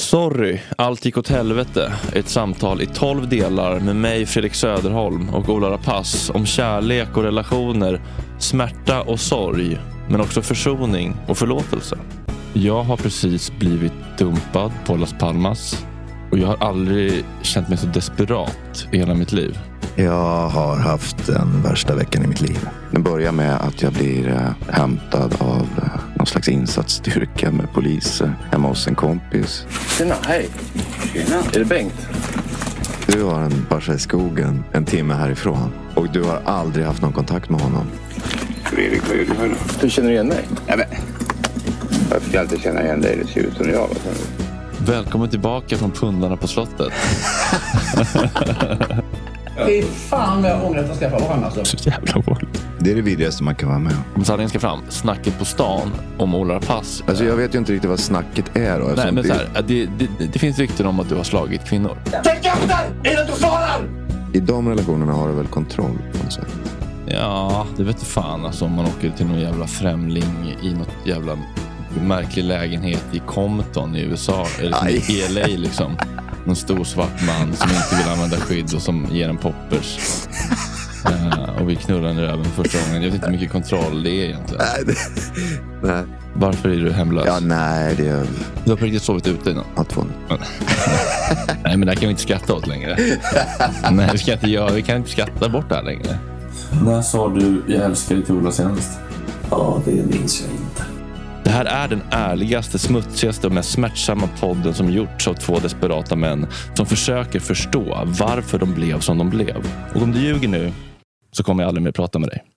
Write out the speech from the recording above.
Sorry, allt gick åt helvete. Ett samtal i 12 delar med mig, Fredrik Söderholm och Ola Rapace om kärlek och relationer, smärta och sorg, men också försoning och förlåtelse. Jag har precis blivit dumpad på Las Palmas och jag har aldrig känt mig så desperat i hela mitt liv. Jag har haft den värsta veckan i mitt liv. Det börjar med att jag blir eh, hämtad av eh, någon slags insatsstyrka med poliser hemma hos en kompis. Tjena, hej. Tjena. Är det Bengt? Du har en farsa i skogen en timme härifrån och du har aldrig haft någon kontakt med honom. Fredrik, vad gör du här nu? Du känner igen mig? Ja, men. Jag ska inte känna igen dig. Det ser ut som jag. Välkommen tillbaka från pundarna på slottet. Fy fan vad jag ångrar att jag skaffade barn alltså. Så jävla dåligt. Det är det vidrigaste man kan vara med om. Om sanningen ska fram, snacket på stan om Ola Rapace. Alltså jag vet ju inte riktigt vad snacket är då. Nej, eftersom men det- så här, Alltså, det, det, det finns rykten om att du har slagit kvinnor. I de relationerna har du väl kontroll på något sätt? Ja, det vet du fan alltså, om man åker till någon jävla främling i något jävla märklig lägenhet i Compton i USA. Eller Aj. liksom i LA liksom. En stor svart man som inte vill använda skydd och som ger en poppers. Eh, och vi knullar i röven första gången. Jag vet inte hur mycket kontroll det är egentligen. Nej, det... nej. Varför är du hemlös? Ja, nej, det är Du har på riktigt sovit ute innan? nattfång. Nej, men det här kan vi inte skratta åt längre. Nej, vi, ska inte göra, vi kan inte skratta bort det här längre. När sa du jag älskar dig till Ola senast? Ja, det minns jag inte. Det här är den ärligaste, smutsigaste och mest smärtsamma podden som gjorts av två desperata män som försöker förstå varför de blev som de blev. Och om du ljuger nu så kommer jag aldrig mer prata med dig.